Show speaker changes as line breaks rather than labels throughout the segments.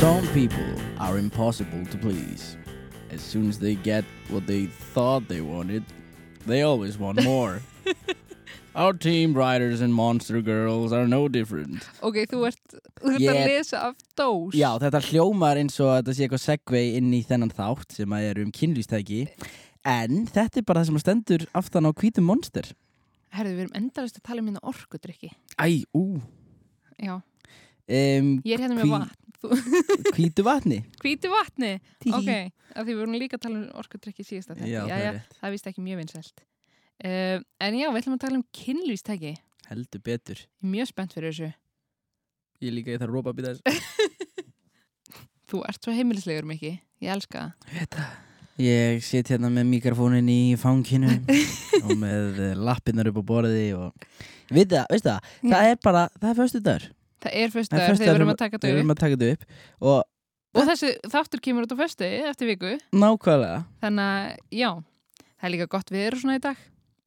Some people are impossible to please. As soon as they get what they thought they wanted, they always want more. Our team riders and monster girls are no different.
Ok, þú ert, þú ert
Ég-
að lesa af dós.
Já, þetta hljómar eins og að þetta sé eitthvað segvei inn í þennan þátt sem að er um kynlýstæki. En þetta er bara það sem stendur aftan á hvítum monster.
Herðu, við erum endalist að tala um minna orkudrykki.
Æ, ú.
Já,
Um,
ég er hérna
Hví-
með vatn. Þú-
hvítu vatni.
Hvítu vatni.
Tí.
Ok, af því við vorum líka að tala um orkudrykki síðast að þetta.
Já, það er rétt.
það er vist ekki mjög vinsælt. Uh, en já, við ætlum að tala um kynlýstæki. Ég
Heldur betur.
er mjög spennt fyrir þessu.
Ég líka ég þarf að rópa að býta þess.
Þú ert svo heimilislegur mikið. Ég elska það.
Ég sit hérna með mikrofónin í fanginu og með eh, lappirnar upp á borði og... Við það, veistu það,
Mm.
það er bara, það er föstu dagur.
Það er fyrst
Það er
dagur þegar
föstudagur
við erum
sem-
að taka
Við
dögu.
erum að taka þetta upp og
Og þessi þáttur kemur út á fyrstu eftir viku.
nákvæmlega,
Þannig að, já, það er líka gott viður svona í dag.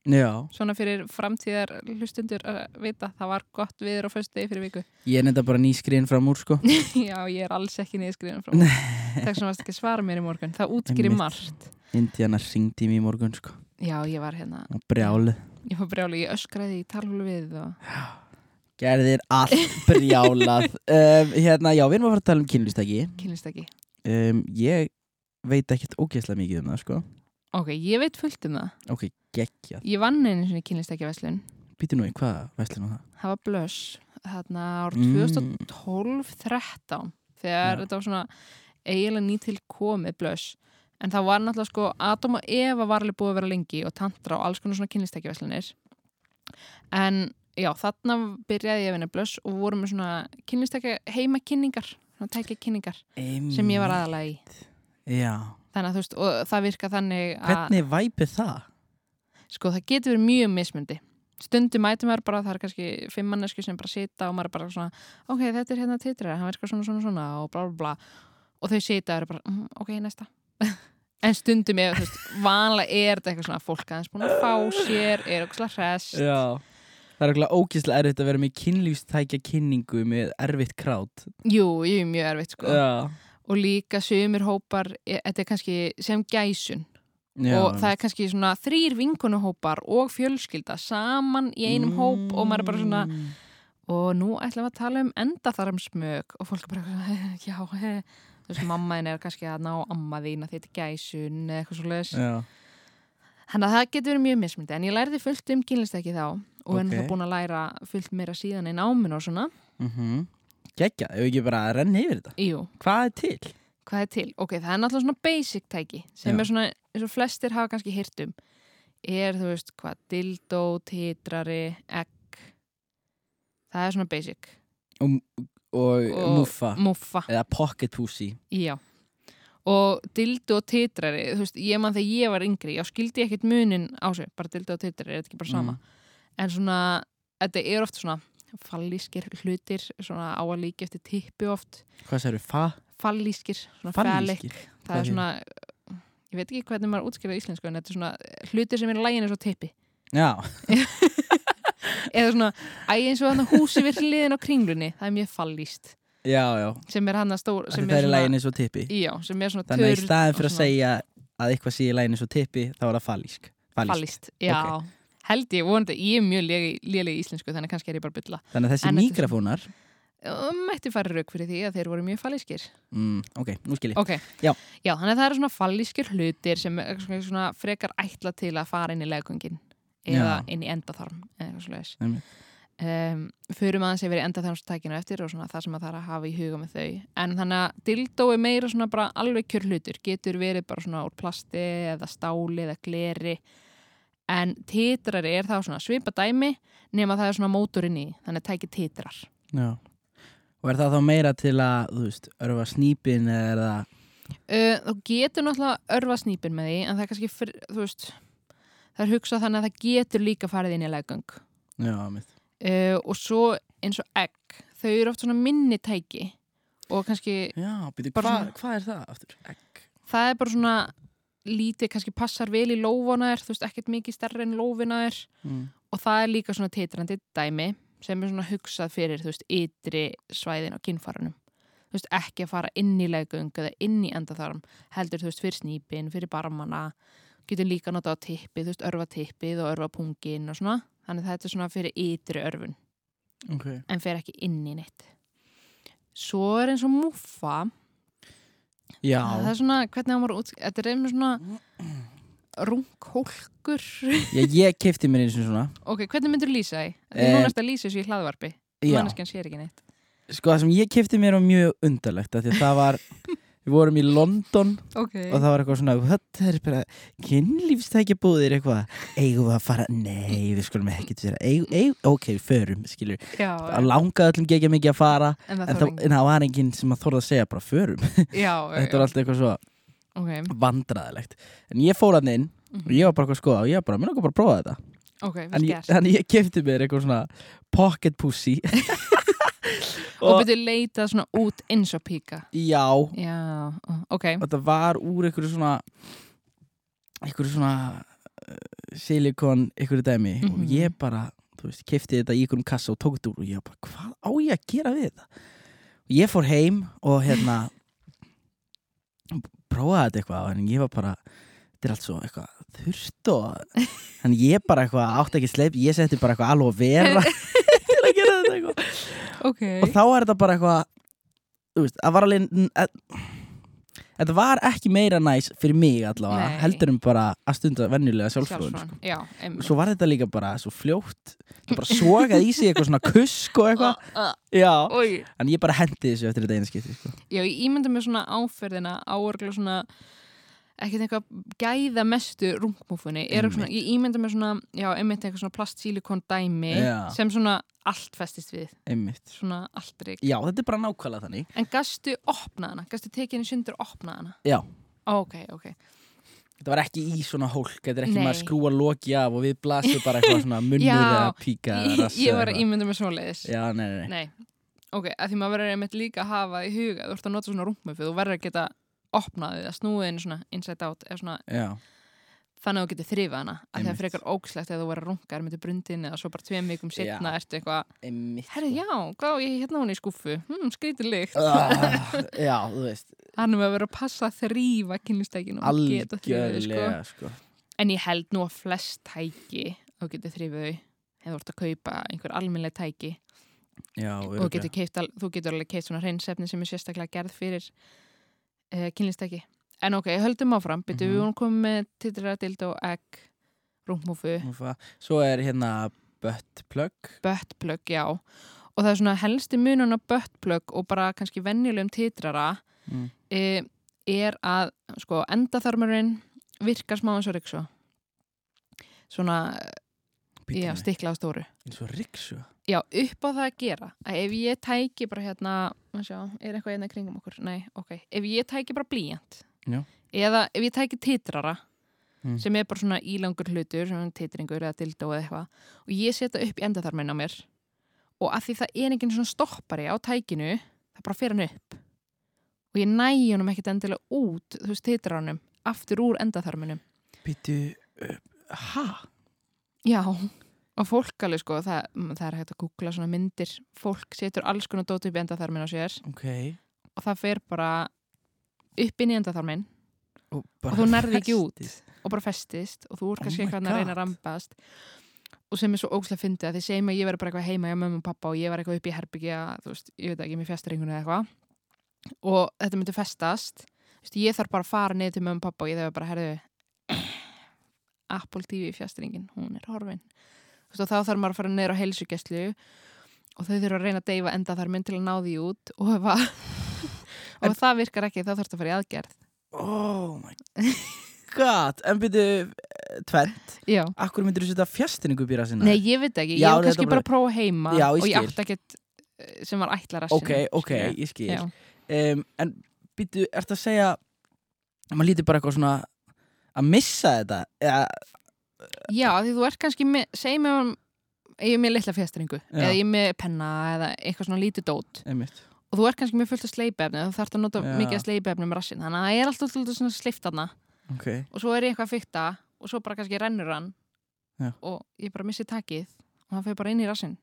já,
svona fyrir framtíðar hlustundur að vita það var gott viður á föstu fyrir viku
ég er nefnda bara nýskriðin fram úr sko.
já, ég er alls ekki niðurskriðin frá þess vegna varst ekki að svara mér í morgun það útskýri
Einmitt.
margt
Indiana ringdi mér í morgun sko
já, ég var hérna,
og brjálið.
ég var brjáli ég öskraði í talhulu við og...
Gerðir allt brjálað. um, hérna, já, við erum að fara að tala um kynlýstæki.
kynlist ekki
Um, ég veit ekkert ógeðslega mikið um það sko.
ok, ég veit fullt um það
Ok, geggjað.
ég vann einu sinni kynlist ekki veslun
Býtu nú í hvað, veistlega nú það?
það var blöss þarna ár
Mm.
2012-13 þegar
Já.
þetta var svona eiginlega nýtil komið blöss en það var náttúrulega sko Adam og Eva var alveg búið að vera lengi og tantra og alls konar svona kynlistekjavæslanir en já, þarna byrjaði ég að vinna í blöss og vorum með svona kynlistekja heimakynningar svona tækja kynningar sem ég var aðalega í
Mm, Já,
þannig að þú veist, og það virka þannig að
hvernig væpið það?
sko það getur verið mjög mismundi stundum mætum maður bara, það er kannski fimm mannesku sem bara sita og maður er bara svona ok, þetta er hérna titra, hann verkar svona svona svona og bla bla bla og þau sita og eru bara, mm, ok, næsta en stundum er, þú veist, vanlega er þetta eitthvað svona að fólk aðeins búin að fá sér er okkur slag hress
Já Það er okkur ógeðslega erfitt að vera með kynlýstækja kynningu með erfitt krát
jú, jú, mjög erfitt sko
Já,
og líka sömur hópar, e- þetta er kannski sem gæsun og það er kannski svona þrýr vinkunuhópar og fjölskylda saman í einum hóp og maður er bara svona
Mm.
og nú ætlum við að tala um endaþarmsmök og fólk er bara, eitthvað, já, he. þú veist, mammaðin er kannski að ná amma þín að þetta gæsun eða eitthvað svo leiðis.
Já,
Þannig að það getur verið mjög mismundi, en ég læriði fullt um kynlistæki þá og okay.
Ok.
er það búin að læra fullt meira síðan í náminu og svona.
mm Gekja, ef ekki bara að renna yfir þetta
Jú,
Hvað er til?
hvað er til? Ok, það er náttúrulega svona basic tæki sem
Já.
er svona, eins og flestir hafa kannski hirt um. Er, þú veist, hvað, dildó, titrari, egg. Það er svona basic.
Og,
Og-
muffa
Muffa.
Eða pocket pussy
Já. Og dildu og titrari, þú veist, ég mann þegar ég var yngri, já, skildi ég ekkert munin á sig, bara dildu og titrari, er þetta ekki bara
Mm.
sama. En svona, þetta er oft svona fallískir hlutir, svona á að líka eftir tippu oft,
Hvað særu, fa?
fallískir, svona fælik.
Fallískir?
Það
Hvað
er
þýðir?
svona, ég veit ekki hvernig maður útskýrða í íslensku, en þetta er svona hlutir sem er lægin eins og tippi.
Já,
Eða svona, æ, eins og hann húsi við hliðin á kringlunni, það er mjög fallíst,
já, já
sem er hann að stóra, sem
Þetta er
er
í
svona,
lægin eins og tippi
já, sem er svona
Þannig að í
turn
staðin
og
fyrir að
svona-
segja að eitthvað sé í lægin eins og tippi þá er það fallísk
Fallist, já. Held ég, vonandi, ég er mjög léleg í íslensku þannig að kannski er ég bara að bylla.
Þannig að þessi
En þetta er svona-
mikrofónar
Mætti fara rauk fyrir því að þeir voru mjög fallískir.
mm, Ok, nú skil ég
Ok,
Já.
þannig að það eru svona fallískir hlutir sem er svona- svona frekar ætla til að fara inn í legungin eða
Já.
inn í endaþarm eða eitthvað svoleiðis.
Einmitt.
Um, förum aðeins yfir í endaþarmstækinu eftir og svona það sem að það er að hafa í huga með þau. En þannig að dildó er meira svona bara alveg kjör hlutur, getur verið bara svona úr plasti eða stáli eða gleri en titrari er þá svona svipa dæmi nema það er svona mótorinn í þannig að tæki titrar
Já. Og er það þá meira til að, þú veist, örfa snýpin eða er það...
uh, þú getur náttúrulega örfa snýpin með því en það er kannski, fyr, þú veist það er hugsað þannig að það getur líka farið inn í leggöng
Já, mitt.
uh, og svo eins og egg þau eru oft svona minni tæki og kannski,
Já, býtu,
Bara
hvað
svona-
hva er það aftur? Egg.
það er bara svona lítið, kannski passar vel í lófana þér þú veist, ekkert mikið stærri en lófina þér
Mm.
og það er líka svona titrandi dæmi sem er svona hugsað fyrir, þú veist, ytri svæðin á kinnfaranum. Þú veist, ekki að fara inn í legung eða inn í endatharm, heldur, þú veist, fyrir snýpin, fyrir barmana, getur líka að nota á tippið, þú veist, örfa tippið og örfa pungin og svona. Þannig að þetta er svona fyrir ytri örfun,
Ok.
en fer ekki inn í neitt. Svo er eins og múfa,
Já.
það er svona, hvernig það var út, þetta er einmitt svona runghólkur.
Ég, ég kefti mér eins og svona.
ok, hvernig myndur þú lýsa því? Því
Eh,
núna ertu að lýsa þessu í hlaðvarpi,
Já.
manneskjan sér ekki neitt.
Sko það sem ég kefti mér var mjög undarlegt. af Því að það var, við vorum í London
Ok.
og það var eitthvað svona, þetta er bara kynlífstækja búðir eitthvað. Eigum við að fara? Nei, við skulum ekkert vera. Eigum, eigum, ok, við förum, skilur.
Já,
Það langaði öllum gegja mikið að fara.
en það
En
þarf
það, en það var enginn sem að þorða að segja bara förum.
ekki. Já,
Þetta var alltaf eitthvað svo
já, ok.
vandræðilegt. En ég fór hann inn og ég var bara eitthvað sko og ég var bara, mér langar bara að prófa þetta.
Ok,
En
vel
ég,
gert.
en ég kefti mér eitthvað svona pocket pussy.
Og byrjuðu leita svona út eins og píka.
Já, og
Já, ok.
þetta var úr einhverju svona, einhverju svona uh, silikon, einhverju dæmi. Og
Mhm.
ég bara, þú veist, kefti þetta í einhverjum kassa og tók þetta úr og ég bara, hvað á ég að gera við þetta? Og ég fór heim og hérna, prófaði þetta eitthvað en ég var bara, þetta er allt svo eitthvað þurft og en ég bara eitthvað átti ekki sleip, ég setti bara eitthvað alveg vera til að gera þetta eitthvað.
Ok.
og þá er þetta bara eitthvað þú veist, það var alveg n- e- þetta var ekki meira næs fyrir mig allavega,
Nei.
heldur um bara að stunda venjulega sjálfsfróðun
Sjálfsfróðun, Já, einmitt.
svo var þetta líka bara svo fljótt það bara sogaði í sig eitthvað svona kusk og eitthvað,
Uh,
já
uh, oj.
en ég bara hendi þessu eftir þetta einu skipti sko.
Já, ég ímynda mér svona áferðina áorgla svona ekkert eitthvað gæða mestu rungmúfunni er
Einmitt.
svona, ég ímynda mér svona, já, einmitt eitthvað svona plastsílikon dæmi
Já.
sem svona allt festist við,
einmitt,
svona allt reik
já þetta er bara nákvæmlega þannig
en gastu opna hana, gastu tekið henni sundur og opna hana
já,
ok, ok,
þetta var ekki í svona hólk þetta er ekki
Nei.
maður skrúa loki af og við blasum bara eitthvað svona munnur
Já.
eða píka eða
ég,
rassi
ég
eða
var að
eitthvað.
ímynda mér svoleiðis
já, nei, nei, nei.
Nei, ok, að því maður verður einmitt líka að hafa í huga, þú ert að nota svona rúmmufu, þú verður að geta opnaðið að snúið henni svona inside out, eða svona
Já.
þannig að þú getur þrifað hana, að það
Einmitt.
er frekar ógslegt eða þú verður að runga, er myndið brundin eða svo bara tveim vikum setna ertu eitthvað,
einmitt sko.
herri já, hvað á ég hérna á hún í skúffu, hmm, skrítið lykt,
Ah, Já, þú veist
hann er með að vera að passa að þrýfa kynlistekinu og geta þrýfið, sko.
Algjörlega sko.
En ég held nú að flest tæki, þú getur þrýfið þau, eða þú ert að kaupa einhver almennleg tæki,
Já,
og þú
örugglega.
getur, keift, þú getur alveg keift svona hreinsefni sem er sérstaklega gerð fyrir uh, kynlistæki en ok, höldum áfram, byrju
Mhm.
við hún komum með titra, dildo, egg rúmúfu,
Nú fa- Svo er hérna buttplug
böttplögg, já og það er svona helsti munun á böttplögg og bara kannski venjulegum titrara
Mm.
eh, er að sko, endaþarmurinn virkar smá eins og riksu svona,
Bíddu
já,
nú,
stikla á stóru
Eins og riksu
Já, upp á það að gera að ef ég tæki bara hérna að sjá, er eitthvað hérna í kringum okkur? Nei, ok Ef ég tæki bara blíjant
Já.
eða ef ég tæki titrara
Mm.
sem er bara svona ílangur hlutur sem titringur eða dildó eða eitthvað og ég setja upp í endaþarminn á mér og að því það er enginn svona stoppari á tækinu það bara fer hann upp og ég næ honum ekkit endilega út þú veist titranum aftur úr endaþarminum
Býtu Ha?
Já, og fólk alveg sko, það, mm, það er hægt að googla svona myndir, fólk setur alls konar dót upp í endaþarmin á sér
Ok
og það fer bara upp inn í endaþarmin
Og,
og
bara
þú nærði ekki út
festist.
og bara festist og þú
Oh
er kannski
my
eitthvað að reyna
God.
að rambast og sem er svo ógslag fyndið að þið segjum að ég verið bara eitthvað heima hjá mömmu og pappa og ég var eitthvað upp í herbyggja, þú veist, ég veit ekki, mér fjastringuna eða eitthvað og þetta myndi festast, þú veist, ég þarf bara að fara niður til mömmu og pappa og ég þarf bara, herðu Apple TV fjastringin, hún er horfin þú veist, og þá þarf maður að fara niður á heilsugestlu og þau þurfa að reyna að deyfa enda þar mynd til að ná því út og ef, að- og ef það virkar ekki, þá þarf að fara í aðgerð
Oh my god En býtu Tvent
Já.
Akkur myndir þú setja fjastinningu býra sinna?
Nei, ég veit ekki, ég
Já,
var
þetta
kannski
bara-
bara að prófa heima
Já, ég
og ég
skil.
átti ekkert eh, sem var ætla rassinum.
Ok, ok, ég skil
Já.
um, En býtu, ertu að segja maður lítið bara eitthvað svona að missa þetta eða,
Já, af því þú ert kannski með, segjum ef hann- ef ég er með litla fjastringu
Já.
eða ég er með penna eða eitthvað svona lítið dót
einmitt
og þú ert kannski með fullt af sleipefni þú þarft að nota
Já.
mikið af sleipefni með rassin þannig að það er alltaf alltaf svona sleiftana
Ok
og svo er ég eitthvað að fykta og svo bara kannski rennur hann
Já.
og ég bara missi takið og hann fyrir bara inn í rassin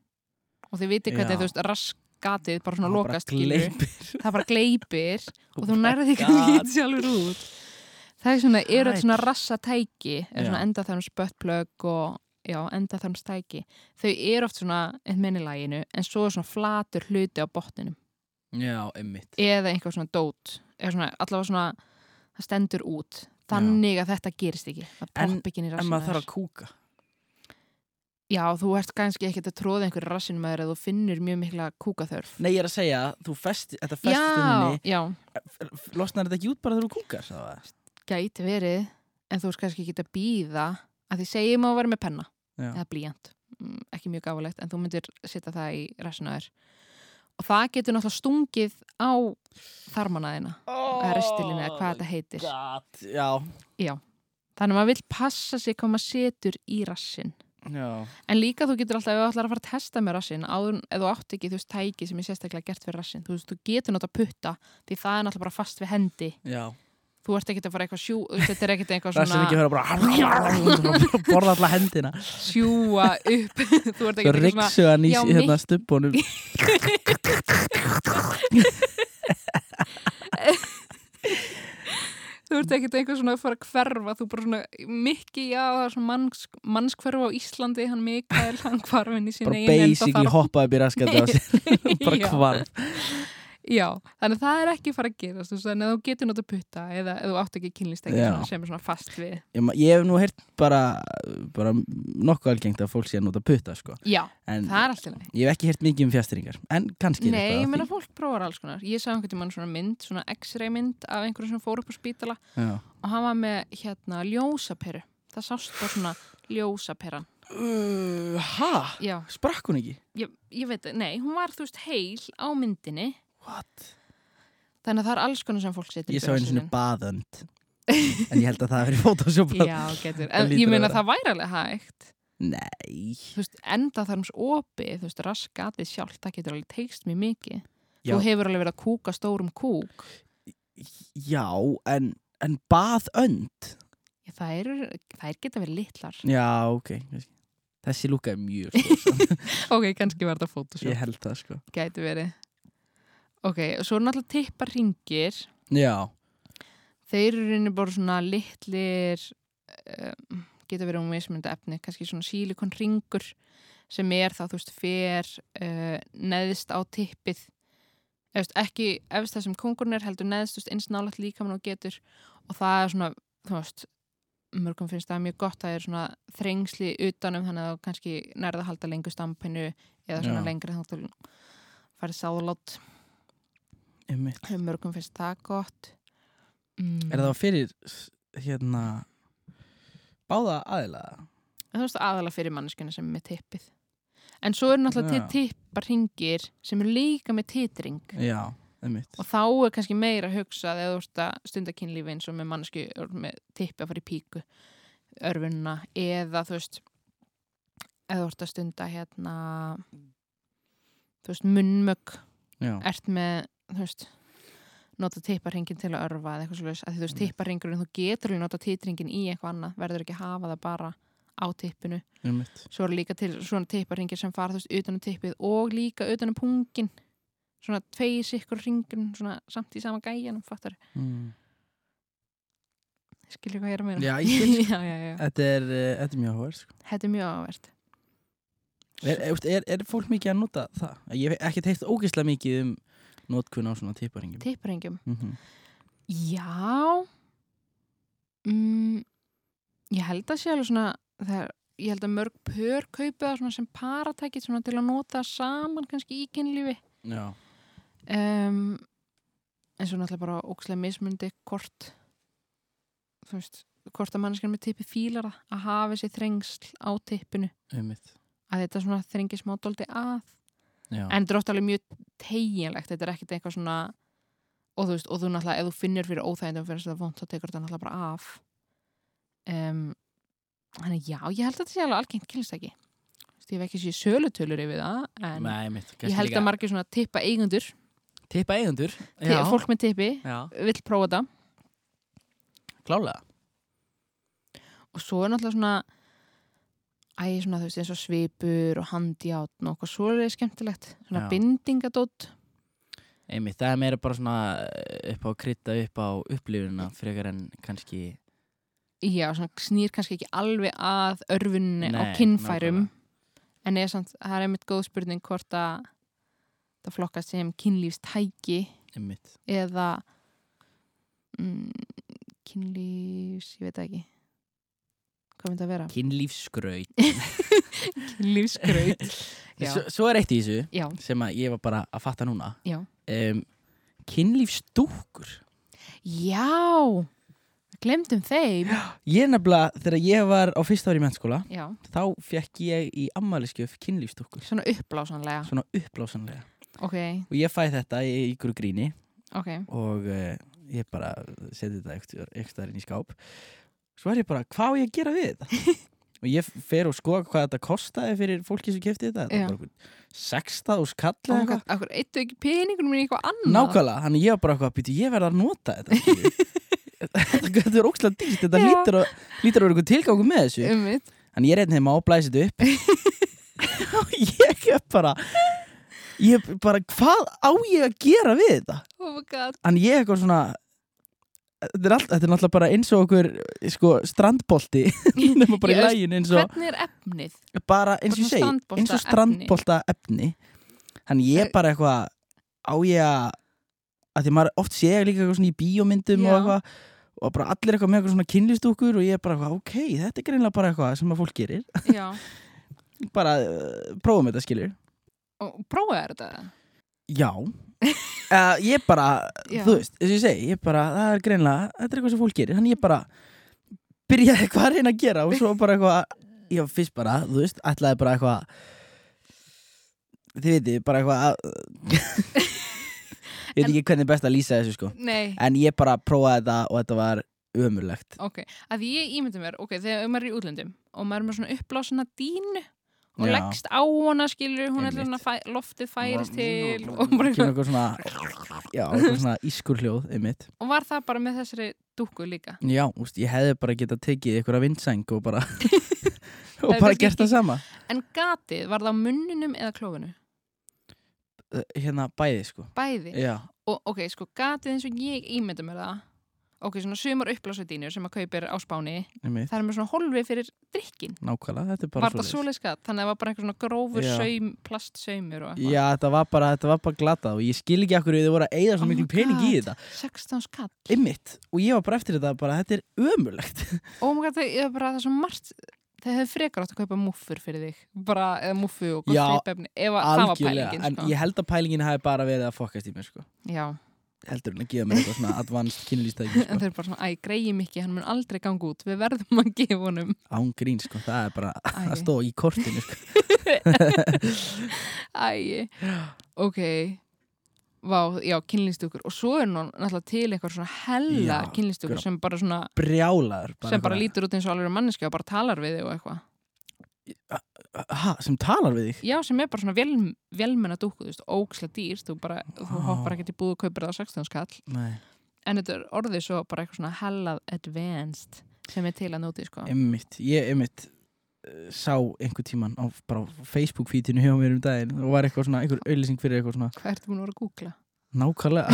og þið viti hvernig
Já.
þú veist raskatið bara svona
Það bara
lokast skilurðu.
gleypir.
það bara gleipir og þú
bara
nærði ekki
gat.
ekki sjálfur út það er svona, eru
Sæll.
þetta svona rassatæki er
Já.
svona endaþarms böttplögg og já, endaþarmstæki þau eru oft svona einn minnilæginu en svo er svona flatur hluti á botninum
Já, einmitt.
eða einhver svona dót eða svona, allavega svona, það stendur út þannig að þetta gerist ekki það
En-
popp ekki inn í
En
rassinu
maður þarf að kúka.
já, þú ert kannski ekkert að tróða einhverju rassinum að þér að þú finnur mjög mikla kúkaþörf
Nei, ég er að segja, þú festi, þetta
já,
festunni,
já,
losnar þetta ekki út bara þegar þú kúkar, sagði það.
gæti verið en þú veist kannski ekki að býða að því segjum að vera með penna
Já.
eða blíjant, Mm, ekki mjög gáfulegt en þú myndir setja það í restina þér og það getur náttúrulega stungið á þarmanaðina
Oh,
eða restilinu eða hvað þetta heitir
Gat, já.
þannig að maður vill passa sig hvað maður setur í rassin
Já.
en líka þú getur alltaf, ef þú ætlar að fara að testa með rassin áður, ef þú átt ekki þú veist tæki sem er sérstaklega gert fyrir rassin þú, veist, þú getur náttúrulega putta því það er náttúrulega bara fast við hendi
Já.
þú ert ekki að fara eitthvað sjú þetta er ekki eitthvað
Það sem
svona
ekki höra bara borða alla hendina.
sjúa upp þú
Svo
ert ekki eitthvað
riksu hann í
já,
hérna stubbunum.
þú ert ekkert eitthvað svona að fara að hverfa þú bara svona mikki, já, það er svona mannsk, mannskverfa á Íslandi, hann Mikael hann hvarfinn í sín
Bara
eigin enda
basically hoppaði upp í raskandi á sér. Bara
Já.
hvarf.
já, þannig að það er ekki að fara að gerast þú veist, þannig að þú getur nota putta eða eða þú átt ekki kynlistæki
Já.
sem er svona fast við
Ég, ma- ég hef nú heyrt bara, bara nokkuð algengt að fólk sé að nota putta, sko.
já,
En
það er alltaf leið
ég hef ekki heyrt mikið um fjastringar. En kannski er
Nei,
eitthvað
ég
að
meina fólk prófar alls konar. Ég sá einhvern tímann svona mynd, svona x-ray mynd af einhverju sem fór upp á spítala
því. Já.
og hann var með hérna ljósaperu. Það sást bara svona ljósaperan.
Uh, ha?
Já,
Sprakk hún ekki?
ég, ég veit, nei, hún var þú veist heil á myndinni
What?
Þannig að það er alls konar sem fólk setur
Ég sá einu svona baðönd En ég held að það hafi verið fótósjópað
Já, getur.
Það
En
hlýtur
ég
að
meina
vera.
það væri alveg hægt.
Nei
Þú veist, enda þar ums opið, þú veist, raskatið sjálf, það getur alveg teikst mjög mikið.
Já.
Þú hefur alveg verið að kúka stórum kúk.
Já, en, en baðönd
Ég, Það eru, þær geta verið litlar.
Já, ok kannski. Þessi lúka er mjög sko,
Ok, kannski var þetta fótusjók.
Ég held það sko
Gæti verið. Ok, og svo er náttúrulega tippa ringir.
Já,
Þeir eru reyni bara svona litlir, um, geta verið um mismunandi efni, kannski svona sílikon ringur sem er þá, þú veist, fer uh, neðist á tippið. Eða, þú veist, ekki efst það sem kongurinn er heldur neðst, þú veist, eins nálægt líkamann og getur og það er svona, þú veist, mörgum finnst það mjög gott að það er svona þrengsli utanum þannig að þú kannski nærða að halda lengur stampinu eða svona
Já.
lengri þá þú farið sáðlót.
einmitt
Mörgum finnst það gott. Mm.
Er það fyrir s- hérna Báða aðilaða?
En þú veist aðalega fyrir manneskjuna sem er með tippið en svo eru náttúrulega
Já.
til tippar hringir sem eru líka með titring
Já, einmitt
og þá er kannski meira að hugsa þegar þú ert að stunda kynlífi eins og með mannesku með tippi að fara í píku örfunna eða þú veist eða þú ert að stunda hérna þú veist munnmögg
Já,
ert með þú veist nota tipparringin til að örfa eða eitthvað svolítið að þú veist
Einmitt.
tipparringurinn þú getur alveg nota titringin í eitthvað annað verður ekki að hafa það bara á tippinu
einmitt
svo eru líka til svona tipparingir sem fara þú veist utan um tippið og líka utan um pungin svona tveir sikkur ringun svona samt í sama gæjanum fattar,
mm.
skilur hvað ég er að meina
Já, ég skil.
já, já, já.
Þetta er, eh, þetta er mjög hóður sko.
þetta er mjög áverð
er, er, er, er fólk mikið að nota það? Ég hef ekki teikt ógeðslega mikið um notkun á svona tipparingum
tipparingum,
mm -hmm.
já mm, ég held að sé alveg svona þegar, ég held að mörg pör kaupi það svona sem paratækið svona til að nota saman kannski í kynlífi
Já,
um, en svo náttúrulega bara ókslega mismundi hvort þú veist, hvort að manneskjan með tippi fílar það, að hafa þessi þrengsl á tippinu
einmitt
að þetta svona þrengi smá dóldi að
Já.
en þetta er óttalega mjög teginlegt þetta er ekkert eitthvað svona og þú veist, og þú náttúrulega, ef þú finnir fyrir óþægindum fyrir þetta vond, þá tekur þetta náttúrulega bara af um, þannig að já, ég held að þetta sé alveg algengt kynstæki ég hef ekki séð sölutölur yfir það en
Nei, mitt,
ég held að margir svona tippa eigundur
Tippa eigendur
Já. fólk með tippi
Já,
vill prófa þetta
klálega
og svo er náttúrulega svona æ, svona þú veist, eins og svipur og handjátn og eitthvað svoleiði skemmtilegt svona
Já.
bindingadótt
Einmitt, það er meira bara svona eh, upp á að krytta upp á upplifuna frekar en kannski
já, svona snýr kannski ekki alveg að örfunni á
Nei,
kynfærum en er samt, það er einmitt góð spurning hvort að það flokkast sem kynlífstæki
einmitt.
eða mm, kynlífs, ég veit það ekki hvað myndi að vera?
Kynlífsgraut.
kynlífskraut já,
S- Svo er eitt í þessu
já,
sem að ég var bara að fatta núna.
Já.
Um, kynlífsdúkkur.
já glemdum þeim
Ég nefnilega, þegar ég var á fyrsta ári í mennskóla,
já,
þá fekk ég í ammæliskjöf kynlífsdúkkur.
svona uppblásanlega
Svona uppblásanlega.
ok,
Og ég fæ þetta í í ykkur gríni
ok,
og uh, ég bara seti þetta eitthvað- eitthvað inn í skáp svo er ég bara, hvað á ég að gera við þetta? og ég fer og skoða hvað þetta kostaði fyrir fólki sem kefti þetta
Já.
þetta var 6.000 kall eða eitthvað
okkur eittu ekki peningunum í eitthvað annað
nákvæmlega, þannig ég var bara eitthvað býtu, ég verð að nota þetta skilju." Þetta- þetta er ókslega dýrt, þetta
Já.
lítur að, lítur að vera eitthvað tilgangu með þessu
um mitt
þannig ég reyndi þeim að blæsa þetta upp og ég er bara ég er bara, hvað á ég að gera við þetta?
oh my god,
en ég eitthvað svona þetta er, all, þetta er náttúrulega bara eins og okkur sko, strandbolti nema bara í
Ég veist-
lægin eins og
hvernig er efnið?
bara eins og ég
Svona
segi eins og strandbolta efni þannig ég bara eitthvað á ég að að því maður oft sé líka eitthvað svona í bíómyndum og
Já.
eitthvað og bara allir eitthvað með eitthvað svona kynlistúkur og ég er bara eitthvað ok, þetta er greinlega bara eitthvað sem að fólk gerir
já,
bara uh, prófum þetta skilur
og prófaðu þetta
Já uh, Ég bara,
Já.
þú veist, þess að ég segi Ég bara, það er greinlega, þetta er eitthvað sem fólk gerir Þannig ég bara byrjaði eitthvað að reyna að gera Og svo bara eitthvað Já, fyrst bara, þú veist, ætlaði bara eitthvað Þið veitir, bara eitthvað að, Ég veit ekki hvernig er best að lýsa þessu sko
nei,
En ég bara prófaði þetta og þetta var ömurlegt
ok, að því ég ímyndi mér ok, þegar maður er í útlöndum og maður er með svona uppblásana dínu og
Já.
leggst á hana skilur, hún er
Einmitt.
svona fæ, loftið færist til og, bara
Kynna
eitthvað-
eitthvað svona Já, eitthvað svona ískur hljóð, einmitt
og var það bara með þessari dúkku líka
Já, úst, ég hefði bara getað tekið einhverja vindseng og bara og
Það er
bara
kannski
gert það sama
en gatið, var það á munninum eða klófinu?
Uh, hérna bæði sko
bæði
já,
og ok, sko gatið eins og ég ímynda mér það ok, svona sumar uppblásadínur sem maður kaupir á spáni
einmitt,
það er með svona holfið fyrir drikkin
nákvæmlega, þetta er bara
var það
svoleiðis.
svoleiðis gat, þannig að það var bara einhver svona grófur
Já.
saum, plastsaumur og
já, þetta var bara, þetta var bara glatað og ég skil ekki akkur þau voru að eigða svo
Oh my
miklu pening í
God.
þetta
16 skatt
einmitt, og ég var bara eftir þetta bara, þetta er ömurlegt
og maður gæti, ég er bara það er svo margt það hefur frekar átt að kaupa múffur fyrir þig bara, eða múffu og gott
Já,
sveipefni ef að það var pælingin,
en
sko
ég held að pælingin hafi bara verið að fokast í mér sko
já,
heldur hún að gefa mér eitthvað svona advanced kynlýstæki
en
sko.
þau eru bara svona, æ, greiði mikið hann mun aldrei ganga út, við verðum að gefa honum
án grín sko, það er bara
Æi.
að stóð í kortinu sko.
Æi, ok Vá, já, kynlýstukur og svo er nú náttúrulega til eitthvað svona hella
Já,
kynlýstukur
gura-
sem bara svona
brjálaður
sem bara
eitthvað-
lítur út eins og alveg manneskja og bara talar við þig og eitthvað
ha, sem talar við þig
Já, sem er bara svona vel, velmenna dúku, þú veist, óksla dýr þú bara, þú
Vá.
hoppar ekki til búð og kaupir það á 16 skall
Nei.
en þetta er orðið svo bara eitthvað svona hella advanced sem er til að nóti, sko
Emmitt, ég emmitt eh, sá einhver tíman á bara Facebook-fítinu hjá mér um daginn og var eitthvað svona, einhver auðlýsing fyrir eitthvað svona
Hvað ertu búin að vera að googla?
nákvæmlega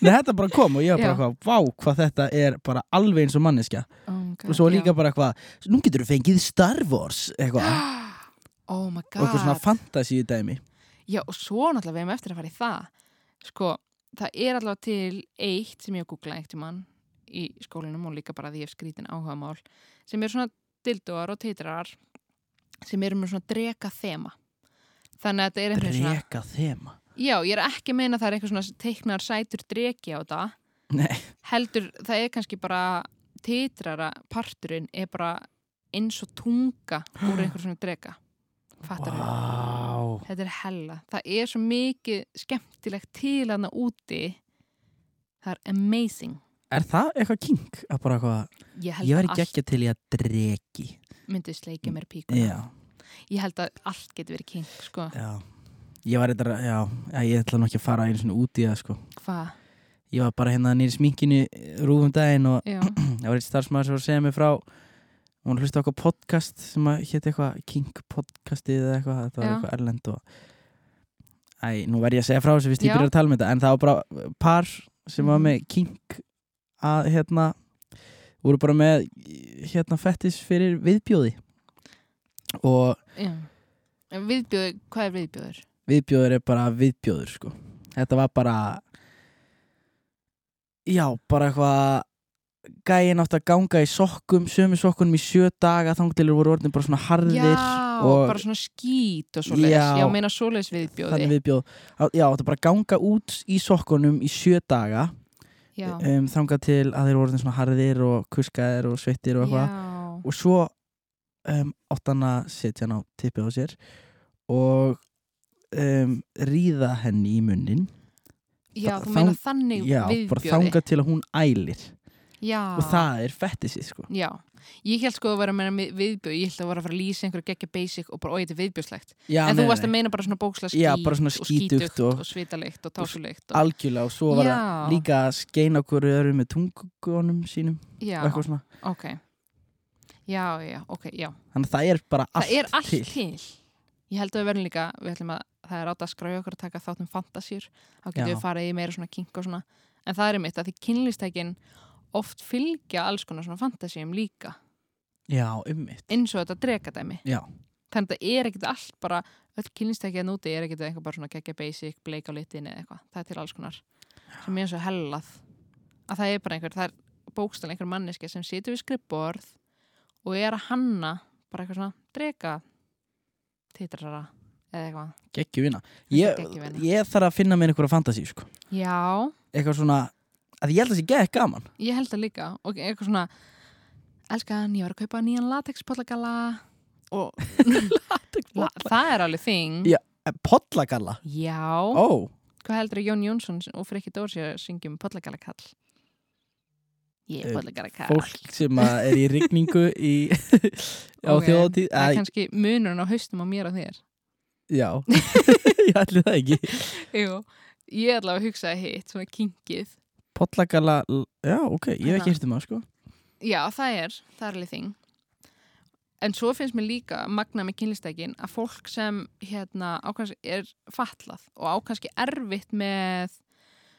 Nei, þetta bara kom og ég var bara
Já.
eitthvað, vá hvað þetta er bara alveg eins og manneskja
Oh my god,
og svo
já.
líka bara eitthvað, nú getur þú fengið Star Wars eitthvað
Oh my god
og eitthvað svona fantasíu dæmi
Já, og svo náttúrulega við hefum eftir að fara í það. Sko, það er allavega til eitt sem ég googlaði eitt í mann í skólinum og líka bara því ég hef skrítin áhuga mál sem eru svona dildóar og titrar sem eru með svona dreka þema. Þannig að þetta er einhvern svona...
Dreka þema
Já, ég er ekki að meina að það er eitthvað svona teiknar sætur dreki á þetta.
Nei,
Heldur, það er kannski bara titrara parturinn er bara eins og tunga úr einhver svona dreka. Fattar við?
vá
Þetta er hella. Það er svo mikið skemmtilegt til hana úti. Það er amazing.
Er það eitthvað king? Að bara eitthvað,
Ég held
ég var
að
ekki
allt
ekki til í að dreki
myndi sleika mér píkuna.
Já
Ég held að allt getur verið king, sko.
Já, ég var eitthvað, já, já, ég ætla nú ekki að fara einu svona út í það, sko.
Hvað?
Ég var bara hérna nýri sminkinu rúfum daginn og
Já.
það var eitt starfsmæður sem var að segja mig frá hún hlusti okkur podcast sem að hétt eitthvað King podcastið eða eitthvað þetta var
Já.
eitthvað erlend og æ, nú verð ég að segja frá þessu fyrst ég
Já.
byrjar að tala um þetta en það var bara par sem var
Mhm.
með King að hérna voru bara með hérna fettis fyrir viðbjóði og
Já. En Viðbjóður, hvað er viðbjóður?
viðbjóður er bara viðbjóður sko þetta var bara já, bara eitthvað gæin átt að ganga í sokkum sömu sokkunum í sjö daga þanglilir voru orðin bara svona harðir
Já,
og
bara svona skít og svoleiðis.
Já.
Já, meina svoleiðis viðbjóði.
þannig viðbjóð á- já, átt að bara ganga út í sokkunum í sjö daga
Já.
um, þangað til að þeir voru orðin svona harðir og kuskaðir og sveittir og eitthvað
Já.
og svo um, átt hann að setja hann á tippið á sér og um, ríða henni í munnin
Já,
Þa-
þú meina
þang-
þannig
Já, bara
viðbjóði. Ah.
þangað til að hún ælir
Já.
og það er fettisið sko
Já. Ég held sko að vera að meina mi- viðbjóð, ég held að vera að fara að lýsa einhverju geggja basic og bara, oi, þetta er viðbjóðslegt.
já,
en þú varst að meina bara svona bókslega skít
Já, bara svona
og
skítugt
skítugt
og-
og, svitalikt og tásulegt. Og,
algjörlega og svo var það
Já.
líka að skeina okkur öðru með tungunum sínum
já,
og eitthvað svona
ok. Já, já, ok, já.
þannig að það er bara allt,
það er allt til.
til
Ég held að við verðum líka, við ætlum að það er átt að skræja okkur að taka þáttum fantasýr þá getum
Já.
við farið í meira svona kink og svona en það er mitt að því kynlistækin oft fylgja alls konar svona fantasýum líka
já, ummitt
eins og þetta dregadæmi
Já.
þannig að þetta er ekkit allt bara öll kynlistækin úti er ekkit eitthvað bara svona geggja basic, bleik á litin eða eitthvað það er til alls konar sem er eins og hellað að það er bara einhver, það er bókstal einhver manneski sem situr við skrippborð og er að hanna bara eitthvað svona drega titrara eða eitthvað
geggjuvina
Þetta
ég,
er geggjuvinna.
ég þarf að finna mér einhverja fantasí sko.
já,
eitthvað svona að ég held að það sé gegg gaman
ég held það líka og eitthvað svona elskan, ég var að kaupa nýjan latexpollagala og la, það er alveg þing
Já. eh, pollagalla
já,
ó,
hvað heldur Jón Jónsson og Frikki Dórs ég syngjum pollagala kall ég
Eh,
er pollagala kall
fólk sem að er í rigningu í, á
Ok,
okay. þjóðatíð
það er
Æ,
kannski munurinn á haustum á mér og þér
já, ég ætli það ekki
Jú, ég ætla að hugsa hitt, svona kinkið.
pollagalla, já ok, ég hef
Hérna.
ekki hýrt um það sko
Já, það er, það er alveg þing. En svo finnst mér líka magna með kynlistækin að fólk sem hérna ákvæmst er fatlað og ákvæmst erfitt með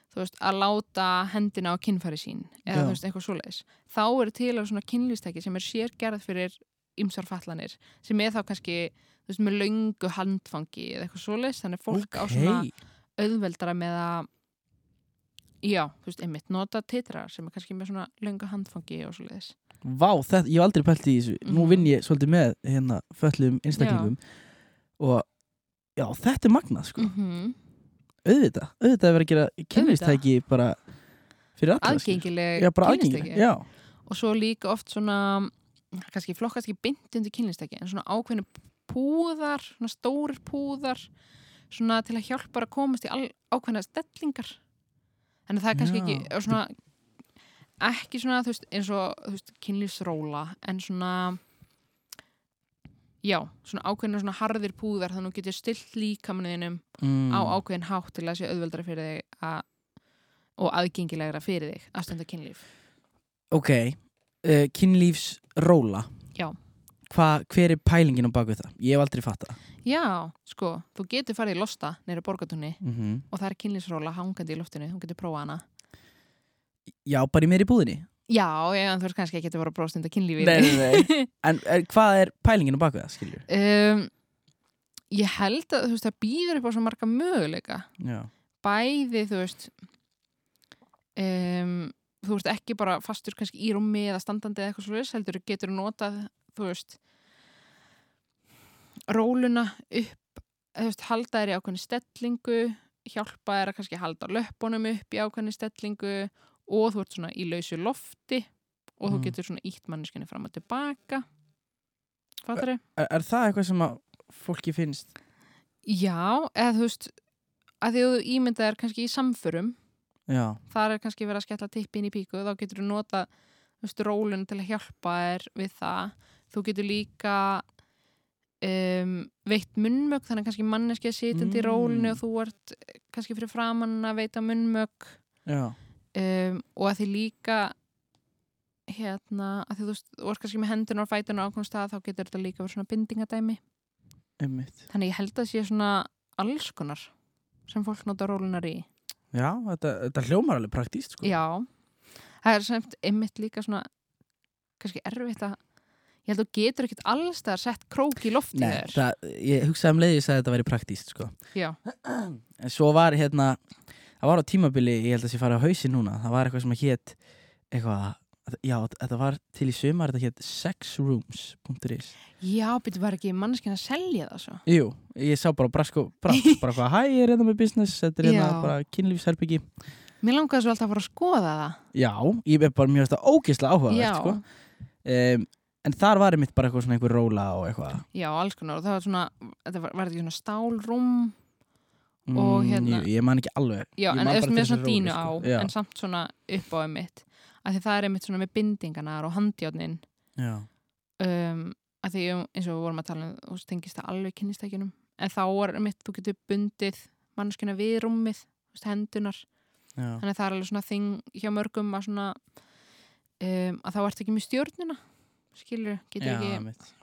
þú veist, að láta hendina á kynfæri sín eða
Já.
þú veist, eitthvað svoleiðis. Þá eru til á svona kynlistæki sem er sér gerð fyrir ymsar fatlanir sem er þá kannski, þú veist, með löngu handfangi eða eitthvað svoleiðis, þannig að fólk á svona
Ókei.
auðveldara með að já, þú veist, einmitt nota titra sem er kannski með svona löngu handfangi og svo leiðis.
Vá, þetta, ég hef aldrei pælt í þessu Nú
Mhm.
vinn ég svolítið með hérna föllum einstaklingum og já, þetta er magnað
Mm.
sko
Mhm.
auðvitað, auðvitað er verið að gera kynlistæki bara fyrir alla skilur.
Aðgengileg
Já, bara
kynlistæki.
aðgengileg Já,
Og svo líka oft svona kannski flokkast ekki beint undir kynlistæki en svona ákveðinu púðar svona stórir púðar svona til að hjálpa að komast í al- ákveðna stellingar en það er kannski
Já.
ekki er svona, ekki svona þú veist, eins og þú veist, kynlífsróla en svona já, svona ákveðinu svona harðir púðar þannig að þú getur stillt líkamanninum
mm,
á ákveðin hátt til að það sé auðveldara fyrir þig að, og aðgengilegra fyrir þig að stunda kynlíf
Ok, uh, kynlífsróla
Já.
Hva, Hver er pælingin á bakvið það? Ég hef aldrei fatt það
Já, sko, þú getur farið í losta neyra borgatunni
mm
og það er kynlífsróla hangandi í loftinu, þú getur prófað hana
Já, bara í mér í búðinni
Já, ég, en þú veist kannski ekki að vera að prófstunda kynlífi
nei En er, hvað er pælingin á bakvið það, skilur?
um, Ég held að þú veist, það býður upp á svo marga möguleika
Já,
bæði, þú veist um, þú veist ekki bara fastur kannski í rúmi eða standandi eða eitthvað svo heldur getur notað, þú veist róluna upp þú veist, halda þér í ákveðni stellingu hjálpa þér að kannski halda löppunum upp í ákveðni stellingu og þú ert svona í lausu lofti og þú
Mm.
getur svona ítt manneskinni fram og tilbaka Fattar þau?
er, er það eitthvað sem að fólki finnst?
Já, eða þú veist að því að þú ímyndað er kannski í samförum
Já,
þar er kannski verið að skella tippi inn í píku þá getur þú nota þú veist, rólun til að hjálpa þér við það þú getur líka um, veitt munnmök þannig að kannski manneski er sitjandi í
Mm.
rólinu og þú ert eh, kannski fyrir framann að veita munnmök
já
um, og að því líka hérna, að því þú veist, þú varst kannski með hendunar og fætunar á okkur stað, þá getur þetta líka verið svona bindingadæmi.
einmitt.
Þannig ég held að sé svona alls konar sem fólk nota rólunar í.
Já, þetta, þetta hljómar alveg praktíst, sko.
Já, það er semt einmitt líka svona kannski erfitt að ég held að þú getur ekkert alls það að sett krók í lofti
Nei,
þegar.
það, ég hugsaði um leiði að þetta væri praktíst, sko.
Já,
En svo var hérna, það var á tímabili, ég held að sé fara á hausin núna, það var eitthvað sem hétt, eitthvað, já, þetta var til í sumar, þetta hétt sexrooms.is.
já byrju var ekki manneskinn að selja það svo.
Jú, ég sá bara brasko, brast, bara hvað, hæ, ég er hérna með business, þetta er hérna
Já.
bara kynlífsherbyggi.
Mér langaði svo alltaf að fara að skoða það.
Já, ég er bara mjög þetta ógeðslega
já,
áhugavert, sko. Um, en þar var einmitt bara eitthvað svona einhver róla og eitthvað.
já, alls konar og það var svona, þetta var, var þetta ekki svona stálrúm Og hérna-
Jú, Mm, ég man ekki alveg. Ég
já, en
man bara
eftir
til
með
þessa
svona dínu á
rólu, sko. Já.
en samt svona upp á einmitt af því það er einmitt svona með bindinganar og handjárnin
Já.
um, að því um, eins og við vorum að tala um þú veist, tengist það alveg kynnistækjunum en þá er mitt, þú getur bundið mannskina við rúmið, þú veist, hendunar
Já.
þannig að það er alveg svona þing hjá mörgum að svona um, að þá ert ekki með stjórnina skilur, getur
Já,
ekki
mitt.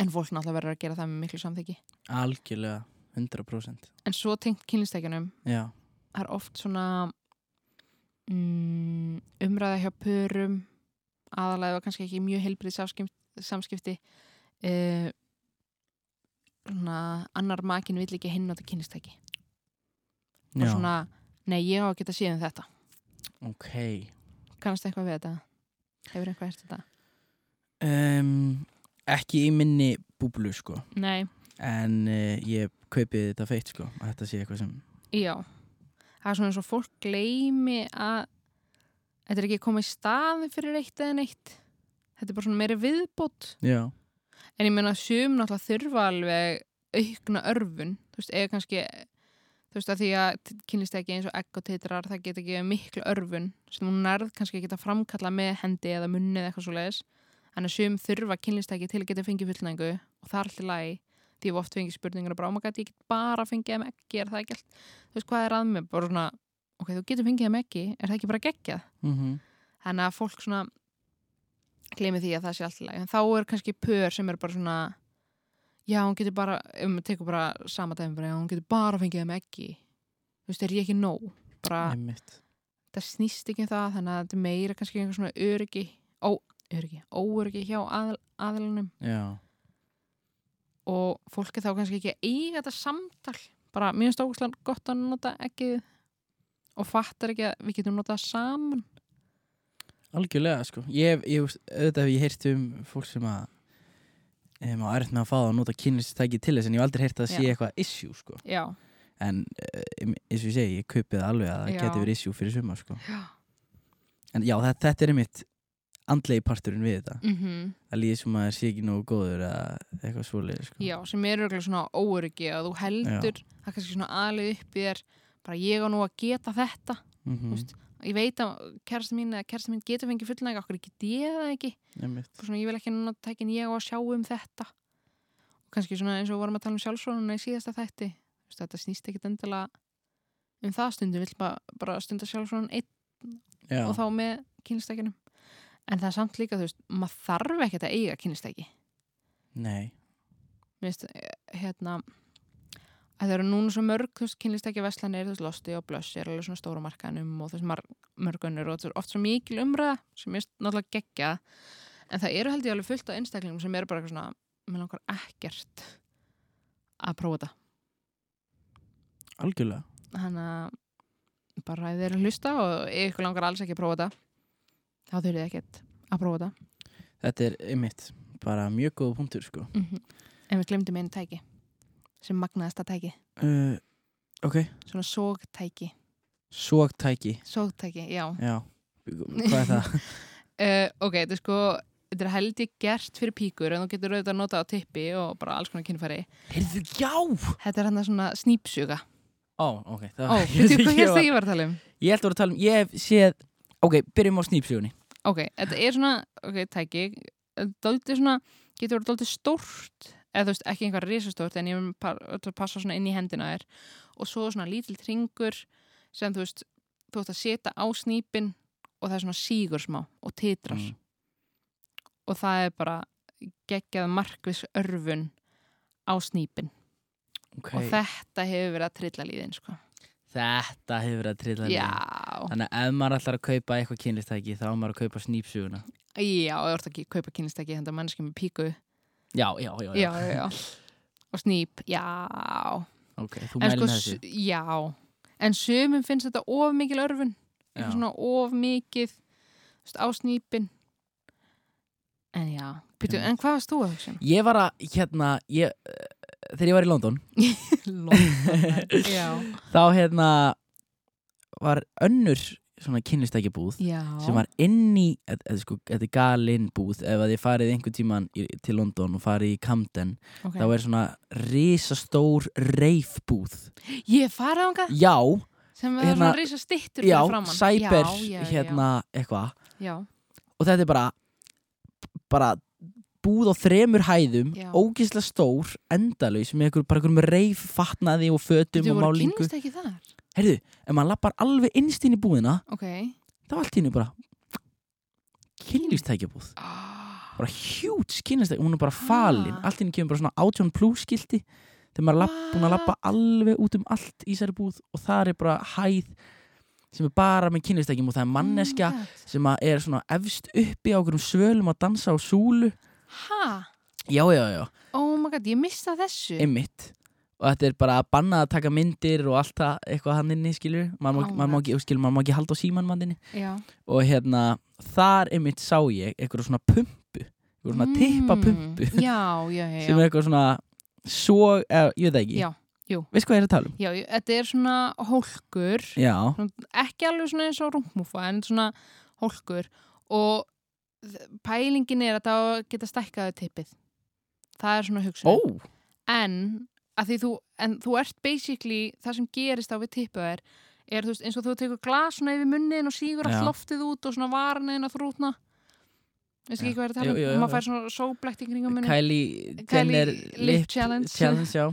en fólk náttúrulega verður að gera það með miklu samþyggi
Algjörlega, 100%.
en svo tengt kynnistækjunum
Já.
það er oft svona mm, umræða hjá pörum aðalega kannski ekki mjög heilbrið samskipti, samskipti uh, svona annar makin vill ekki hinn á þetta kynistæki og
Já.
svona, nei ég á að geta síðan þetta
Ok.
kannast eitthvað við þetta hefur eitthvað eftir þetta
Um, ekki í minni búblu, sko.
nei,
En uh, ég kaupið þetta feitt, sko. Að þetta sé eitthvað sem...
já það er svona eins og fólk gleymi að þetta er ekki komið í staðin fyrir eitt eða neitt þetta er bara svona meiri viðbót
Já.
En ég meina að sum náttúrulega þurfa alveg aukna örfun, þú veist, eða kannski þú veist, að því að kynlist ekki eins og egg og titrar, það geta ekki miklu örfun sem hún nærð kannski að geta framkalla með hendi eða munni eða eitthvað svo leiðis en að sum þurfa kynlist ekki til að geta fengið fullnæðingu og það er alltaf lagi því ég hef oft fengið spurningar og bara, oh my god, ég get bara fengið það með ekki, er það ekki allt þú veist, hvað er að mig, bara svona ok, þú getur fengið það með ekki, er það ekki bara geggjað
Mm -hmm.
þannig að fólk svona gleymi því að það sé alltaf læg en þá er kannski pör sem er bara svona já, hún getur bara, um, tekur bara sama dæmi, bara, já, hún getur bara fengið það með ekki þú veist, er ég ekki nóg bara,
Einmitt.
það snýst ekki um það þannig að þetta er meira kannski einhver svona öryggi ó, öryggi, óöryggi hjá aðl, aðlunum
Já.
og fólk er þá kannski ekki að eiga þetta samtal bara, mér finnst ógustlega gott að nota ekki og fattar ekki að við getum notað saman
Algjörlega, sko. Ég, hef- ég, hef- auðvitað hef ég heyrt um fólk sem að um, á erfitt með að fá það að nota kynlistæki til þess en ég hef aldrei heyrt að það sé
Já.
eitthvað issue, sko.
já,
En eh, em- eins og ég segi, ég kaupið það alveg að það
Já.
geti verið issue fyrir suma, sko.
já,
En já, þetta, þetta er einmitt andlegi parturinn við þetta.
mhm
Það líður sem að það sé ekki nógu góður eða eitthvað svoleiðir, sko.
Já, sem er örgulega svona óöryggi að þú heldur, það er kannski svona aðlið upp í þér, bara ég á nú að geta þetta
Mhm,
Þú veist, ég veit að kærasta mín eða kærasta mín getur fengið fullnæg okkur get ég það ekki,
einmitt.
Bara svona, ég vil ekki nota tækin ég á að sjá um þetta og kannski svona eins og við vorum að tala um sjálfsvonuna í síðasta þætti, Þú veist, þetta snýst ekkit endala um það stundu vill bara, bara stunda sjálfsvonun einn
Já,
og þá með kynlistækinum en það er samt líka, þú veist, maður þarf ekki að eiga kynlistæki
nei.
Mér finnst, eh, hérna að það eru núna svo mörg, þú veist, kynlist ekki verslanir, þú veist, losti og blössi er alveg svona stóra markanum og þú veist, mar- mörg önnur og þú veist, oft svo mikil umræða sem er náttúrulega geggja en það eru held ég alveg fullt af einstaklingum sem eru bara eitthvað svona, með langar ekkert að prófa þetta
Algjörlega.
þannig að bara ef þeir eru að hlusta og ef ykkur langar alls ekki að prófa þetta þá þurfið þið ekkert að prófa þetta
Þetta er einmitt bara mjög góð punktur, sko.
mm en við glemdum einu tæki sem magnaðasta tæki,
Uh, ok.
svona sógtæki
Sogtæki,
sógtæki, já
já. Hvað er það?
Uh, ok, þetta er sko þetta er held ég gert fyrir píkur en þú getur auðvitað að nota á tippi og bara alls konar kynfæri
Heyrðu, já!
Þetta er hann að svona snýpsuga
Ó, ok. Það,
Ó, veitu hvað
Ah, ég,
hérst
var,
ég var að tala um?
ég held að voru að tala um, ég hef séð, ok, byrjum á snýpsugunni.
Ok, þetta er svona, ok, tæki dóldi svona, getur verið dóldi stórt eða þú veist, ekki einhver risastórt en ég vil pa- öll að passa svona inn í hendina á þér og svo svona lítill tringur sem þú veist, þú ætti að setja á snýpin og það er svona sígur smá og titrar
Mm.
og það er bara geggjað markvis örfun á snýpin og þetta hefur verið að trilla líðin sko.
Þetta hefur verið að trilla
já,
niður. Þannig að ef maður ætlar að kaupa eitthvað kynlistæki þá á maður að kaupa snýpsuguna.
já, og ég orði ekki kaupa kynistæki handa mannski með píku já,
Já, já, já. já.
já, já. og snýp, já
Ok, þú
en
mælir
sko,
með þessu.
s- já en sumum finnst þetta of mikil örfun
Já.
eitthvað svona of mikið þú veist, á snýpin en já Býtu,
Einmitt.
en hvað varst þú að hugsa um?
Ég var að, hérna, ég, eh, þegar ég var í London,
London, já,
þá hérna var önnur svona kynlistæki búð
já.
sem var inn í, þetta- þetta er sko, þetta er galinn búð, ef að ég farið einhvern tíman í, til London og farið í Camden,
okay.
þá er svona risastór reifbúð.
ég farið ánga
Já,
sem var
Hérna,
svona risa stittur
já,
framan
cyber,
já,
hérna, um eitthvað.
já,
og þetta er bara bara búð á þremur hæðum
Já.
ógislega stór, endalaus með einhver, bara einhverjum reif fatnaði og fötum
þú
og
voru
málingu
kynist ekki þar
heyrðu, ef maður lappar alveg innst inn í búðina
ok
þá allt í hennu bara kynlýstækjabúð
Ah,
bara hjút kynlýstækjabúð, hún er bara falin
Ah.
allt í hennu kemur bara svona átjón plúskilti þegar maður lapp, búin að lappa alveg út um allt í þessari búð og það er bara hæð sem er bara með kynlýstækjum
Ah,
og það er manneskja
Oh my God.
sem að er svona efst uppi á okkurum svölum að dansa á súlu
ha,
Já, já, já,
oh my god, ég mista þessu
einmitt og þetta er bara að banna að taka myndir og allt það eitthvað hann inni, skilur maður má,
Áhugavert.
maður má, ekki, skilur, maður má ekki halda á símanmandinni
já,
og hérna, þar einmitt sá ég eitthvað svona pumpu eitthvað svona mm. tippapumpu
já, já, já, já.
sem er eitthvað svona svo, eða, ég veit það ekki
Já, jú.
veist hvað ég er að tala um?
Já, ég- þetta er svona hólkur,
Já,
ekki alveg svona eins og rungmúfa, en svona hólkur og þ- pælingin er að það á að geta stækkaðu tippið. Það er svona hugsun.
ó,
En, að því þú, en þú ert basically, það sem gerist á við tippið er, er þú veist, eins og þú tekur glas svona yfir munnin og sígur allt
Já.
loftið út og svona varnin að þrútna. Veist
Já.
ekki hvað ég er að tala um?
Jú, jú,
Jú,
jú,
Maður
jú.
fær svona sóblegt í kringum munnin.
Kylie
Kylie
Jenner
Lip Challenge.
challenge já.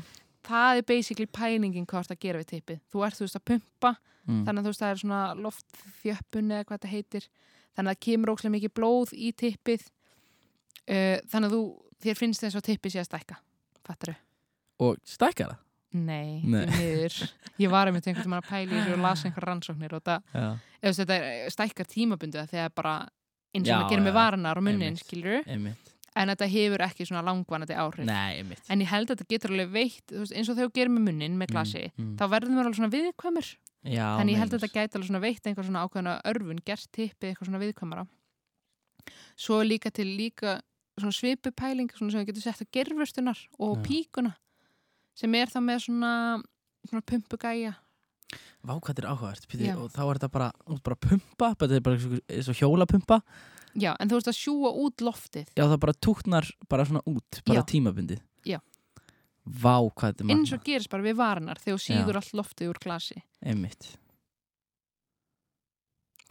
Það er basically pælingin hvað það gera við tippið. Þú ert, þú veist, að pumpa
Mm.
þannig að þú veist það er svona loftþjöppun eða hvað þetta heitir þannig að það kemur ókslega mikið blóð í tippið uh, þannig að þú þér finnst þess að tippið sé að stækka fattar þau?
og stækkar
Nei,
Nei.
Nei. niður ég var einmitt einhvern tímann að pæla í þessu og lasa einhver rannsóknir og það,
það
ef þess að þetta er- eh, stækkar tímabundið þegar bara eins og
Já,
það gerir með
já, já.
varnar og munnin
Einmitt.
skilur,
einmitt,
en þetta hefur ekki svona langvanandi áhrif
nei, einmitt
en ég held að þetta getur alveg veitt þú veist, eins og þegar þú gerir með munnin með glasi
mm.
þá verður maður alveg svona viðkvæmur
já,
Þannig ég held að
meinar.
þetta gæti alveg svona veitt einhver svona ákveðna örfun, gert tippið eitthvað svona viðkvæmara. Svo líka til líka svona svipupæling svona sem við getum sett á gerfustunar og
Já.
píkuna sem er þá með svona, svona pumpugæja.
Vá, hvað þetta er áhugavert Pítur,
Já.
og þá er þetta bara, út bara pumpa þetta er bara eins og- eins og hjólapumpa
Já, en þú veist að sjúa út loftið
já, það bara túknar bara svona út bara
Já.
tímabundið
Já.
Vá, hvað þetta er
eins
magna
og gerist bara við varnar þegar þú sígur
Já.
allt loftið úr glasi.
einmitt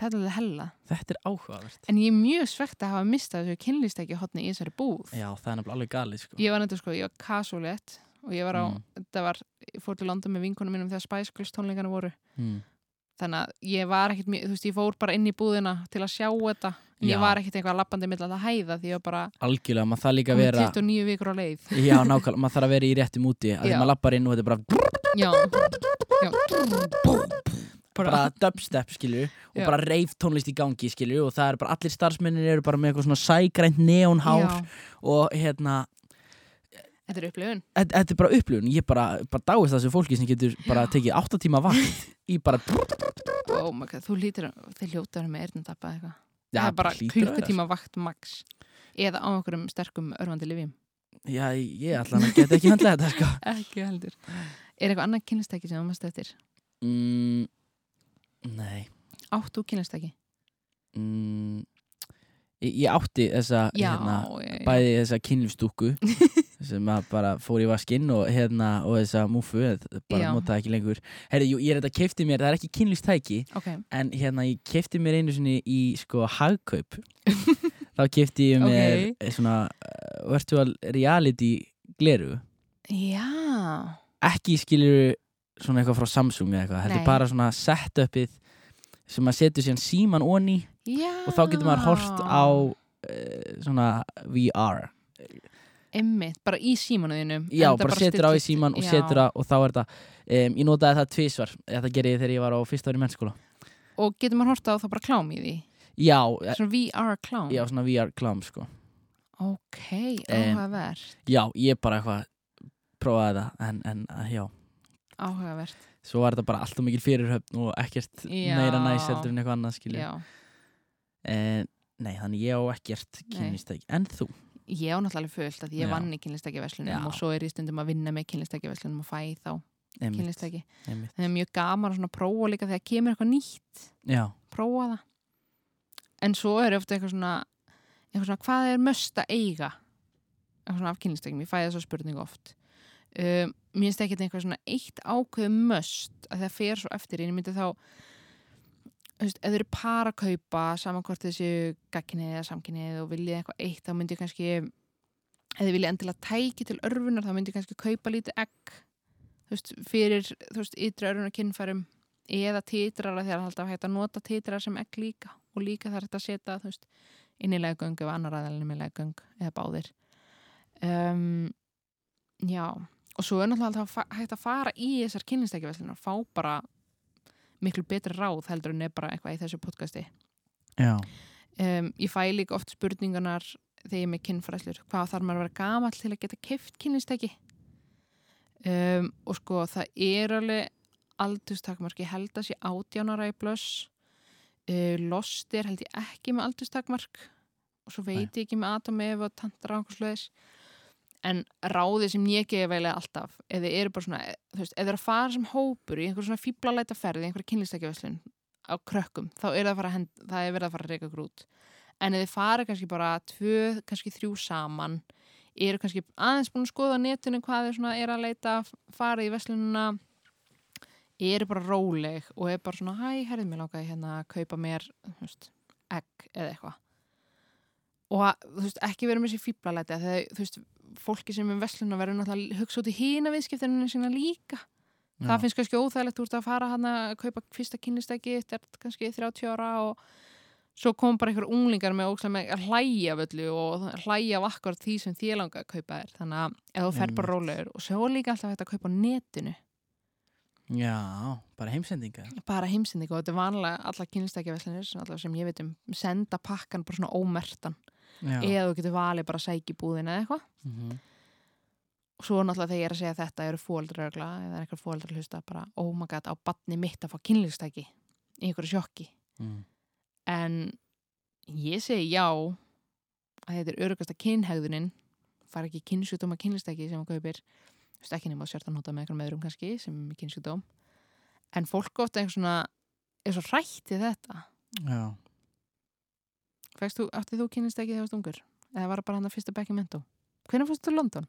Þetta er alveg hella.
Þetta er áhugavert
En ég er mjög svegt að hafa mistað þessu kynlistæki hotni í þessari búð.
Já, það er nefnilega alveg galið sko
Ég var nefndir sko, ég var kasulett og ég var á,
Mm.
þetta var, ég fór til London með vinkunum mínum þegar Spice Girls tónleikana voru
mm.
þannig að ég var ekkert, mjög- þú veist, ég fór bara inn í búðina til að sjá þetta, en
Já.
ég var ekkert eitthvað lappandi mill að það hæða því ég var bara
Algjörlega, maður þarf líka að
komin
vera
29 vikur á leið
Já, nákvæmlega, maður þarf að vera í réttum úti að því
Já.
maður lappar inn og þetta er bara,
já, já.
bara dubstep, skilju og
Já.
bara reif tónlist í gangi, skilju og það er bara, allir starfsmennir eru bara með eitthvað svona sægrænt neonhár
já,
og hérna,
þetta er upplifun
þetta, þetta er bara upplifun ég bara, bara dáist þessu fólki sem getur bara tekið 8 tíma vakt í bara
oh my god, þú lítir, þið hljótaður með erðindabba eða eitthvað,
Já,
það er bara
hlýtur að vera,
klukkutíma vakt max, eða á einhverjum sterkum örfandi lifjum,
sko. já, ég ætla að geta ekki handla þetta sko.
ekki heldur er eitthvað annað kynlistæki sem þú mest eftir
mm, nei
áttu kynlistæki?
mm, ég, ég átti þessa
já,
hérna,
já, já.
bæði þessa kynlífstúku sem að bara fór í vaskinn og hérna og þessa múfu þetta bara
Já.
notaði ekki lengur Herri, jú, ég er þetta kefti mér, það er ekki kynlífstæki
ok,
en hérna ég kefti mér einu sinni í sko hagkaup þá kefti ég mér
Ókei.
okay. svona uh, virtual reality gleru
já
ekki skilur svona eitthvað frá Samsung eða eitthvað, þetta
Nei.
er bara svona setupið sem maður setur síðan síman onni
já Ah.
og þá getur maður hort á eh, svona VR
Emmitt, bara í símanuðinum
Já, bara, setur á í síman og setur á og þá er þetta, um, ég notaði það tvísvar þetta gerði ég þegar ég var á fyrsta ári mennskóla
Og getur maður horta á það bara klám í því
Já, eh,
Svona VR klám
já, svona VR klám sko
Ok,
Em,
áhugavert
Já, ég bara eitthvað prófaði það en, en eh, já,
Áhugavert,
svo var þetta bara alltaf mikil fyrirhöfn og ekkert
Já.
meira næs heldur en eitthvað annað skilja
já
en, Nei, þannig ég á ekkert
Nei.
kynlistæki, en þú
Ég á náttúrulega alveg fullt að ég
Já.
vann í kynlistakjaverslunum
Já.
og svo er ég stundum að vinna með kynlistakjaverslunum og fæ þá
Einmitt,
kynlistæki
einmitt.
það er mjög gaman að svona prófa líka þegar kemur eitthvað nýtt,
Já,
prófa það en svo er ofta eitthvað svona eitthvað svona hvað er möst að eiga eitthvað svona af kynlistækjum, ég fæði þess að spurningu oft um, mér finnst ekki eitthvað svona eitt ákveð möst að það fer svo eftir, en ég myndi þá þú veist, ef þau eru par að kaupa saman hvort þessi gagkinnið eða samkinnið og viljið eitthvað eitt, þá myndi ég kannski ef þið viljið endilega tæki til örfunar þá myndi ég kannski kaupa lítið egg þú veist, fyrir, þú veist, ytri örfunar kynfærum eða titrara þegar það er alltaf hægt að nota titrara sem egg líka og líka það er hægt að setja, þú veist innilega göng eða annar aðalinn með göng eða báðir um, já og svo er náttúrulega alltaf fa- hægt að fara í þessar kynlistækjaverslinu og fá bara miklu betri ráð heldur en er bara eitthvað í þessu podcasti
já,
um, ég fæ líka oft spurningarnar þegar ég er með kynfræðslur hvað þarf maður að vera gamall til að geta keift kynlistæki um, og sko það er alveg aldurstakmark, ég held að sé átjánara í blöss uh, lost er held ég ekki með aldurstakmark og svo veit ég ekki með Adam ef og tantra og okkur sluðis en ráðið sem ég gefi veilega alltaf eða eru bara svona, þú veist, eða er að fara sem hópur í einhver svona fíblalæta ferði einhverja kynlistækjaverslun á krökkum þá er það, að fara að hend, það er verið að fara að reyka grút en ef þið farið kannski bara tvö, kannski þrjú saman eru kannski aðeins búin að skoða á netinu hvað þið svona er að leita farið í veslununa eru bara róleg og er bara svona hæ, herrið mér langaði hérna að kaupa mér þú veist, egg eða eitthvað og að, þú veist, ekki vera með sér fíblalæti af því að þú veist, fólki sem er vesluna verður náttúrulega að hugsa út í hína viðskiptinu sína líka
já.
það finnst kannski óþægilegt úr það að fara hann að kaupa fyrsta kynnistæki þetta er kannski 30 ára og svo kom bara einhver unglingar með ókslega með að hlæja af öllu og hlæja af akkur því sem þér langa að kaupa þér þannig að ef þú fer bara
Einmitt.
rólegur og svo er líka alltaf hægt að kaupa á netinu
Já, bara heimsendinga
bara heimsendingu og þetta er vanlega allar kynnistækjaverslanir sem ég veit um senda pakkan bara svona ómertan
Já,
eða þú getur valið bara að sækja í búðina eða eitthvað
Mhm.
og svo náttúrulega þegar ég er að segja þetta eru fóaldrar ögla, eða er eitthvað fóaldrar hlusta bara, oh my god, á batni mitt að fá kynlífstæki í einhverju sjokki
Mm.
en ég segi já að þetta er örugasta kynhegðunin fara ekki í kynnsjúdóma kynlífstæki sem að kaupir þú veist ekki nema að sérta að nota með einhverjum meðrum kannski sem er kynnsjúdóm en fólk ofta einhver svona er svo hrætt í þetta
já
Fækst þú, átti þú kynlífstæki þegar þú varst ungur? eða var það bara hann að fyrsta bekki mentó? Hvernig fórstu til London?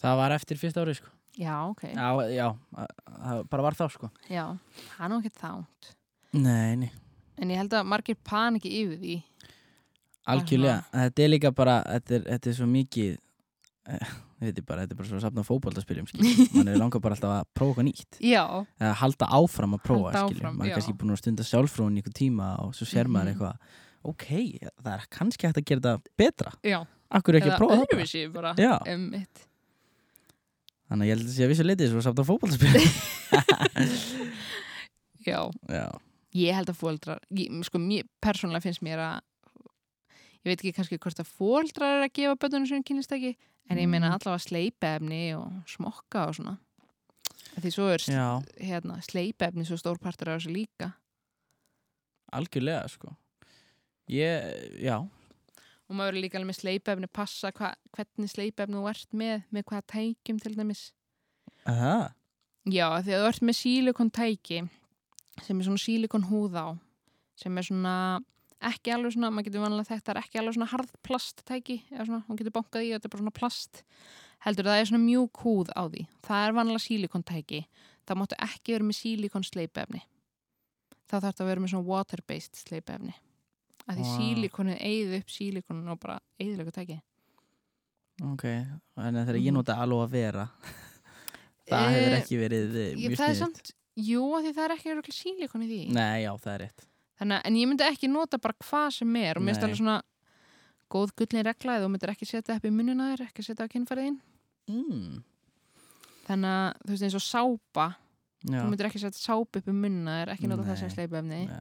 Það var eftir fyrsta ári sko
Já, ok. Já,
Já, já a- a- bara var þá sko
hann á ekki þánt.
Nei, nei
En ég held að margir paniki yfir því.
Algjörlega, þetta er líka bara þetta er, þetta er svo mikið eh, ég veit ég bara, þetta er bara svo að safna fótboltaspyrjum mann er langar bara alltaf að prófa eitthvað nýtt
Já.
eða halda áfram að prófa
Halda
skilur,
áfram,
maður
já.
er kannski búin að stunda sjálfróun í einhver tíma og svo sér maður
Mhm.
eitthvað ok, það er kannski hægt að gera þetta betra
Já.
akkur ekki að prófa það bara?
öðruvísi bara.
Já,
Um mitt.
þannig að ég held að sé að vissu leiti svo samt á fótboltaspyrjum
Já.
Já,
Ég held að fóldrar, sko, mér, persónulega finnst mér að ég veit ekki kannski hvort að fóldrar er að gefa bötunum sem kynlistæki, en ég meina
Mm.
allavega sleipefni og smokka og svona. Af Því svo er
já,
hérna, sleipefni svo stór partur af þessu líka.
algjörlega sko Ég, já,
Og maður er líka alveg með sleipefni passa hva, hvernig sleipefni þú ert með, með hvaða tækjum til dæmis.
það
Já, af því að þú ert með sílikon tæki sem er svona sílikon húð á sem er svona ekki alveg svona, maður getur vanlega þetta er ekki alveg svona harðplast tæki eða svona, hún getur bankað í og þetta er bara svona plast heldur það er svona mjúk húð á því það er vanlega sílikon tæki það máttu ekki vera með sílikon sleipefni það þarf það að vera með svona water based sleipefni af því
Vá.
wow. sílikonið eigið upp sílikonun og bara eigðilegu tæki
Ok, en þegar ég
Mhm.
nota alveg að vera það hefur
Eh,
ekki verið eh,
Ég-
mjög
það er
sniðið
samt, jú, af því það er ekki sílikon í því
Nei, já, það er rétt
Þannig að, en ég myndi ekki nota bara hvað sem er og mér finnst
Nei.
alveg svona góð gullin regla eða þú myndir ekki setja upp í mununa þér, ekki setja á kynfæriðin
mm.
þannig að þú veist eins og sápa
Já.
þú myndir ekki setja sápa upp í mununa þér, ekki nota það sem
Nei.
sleipefni
Já.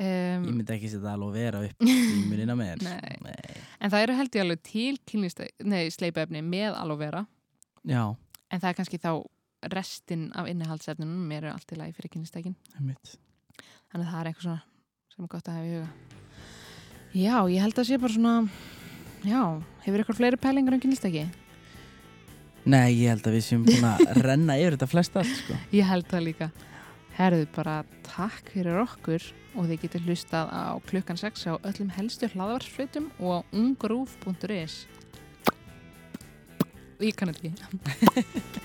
um,
Ég myndi ekki setja alveg vera upp í munina með þér.
Nei. en það eru held ég alveg til kynlýsta- nei, sleipefni með alveg vera
Já,
en það er kannski þá restin af innihaldsefnunum mér er allt í lagi fyrir kynlistækin
einmitt.
þannig að það er eitthvað svona sem er gott að hafa í huga Já, ég held að sé bara svona Já, hefur ykkur fleiri pælingar um kynlistæki?
Nei, ég held að við séum búin að renna yfir þetta flest allt, sko.
Ég held það líka Herðu bara takk fyrir okkur og þið getur hlustað á klukkan 6 á öllum helstu hlaðvarsflutum og á ungrúf.is Ég kann þetta ekki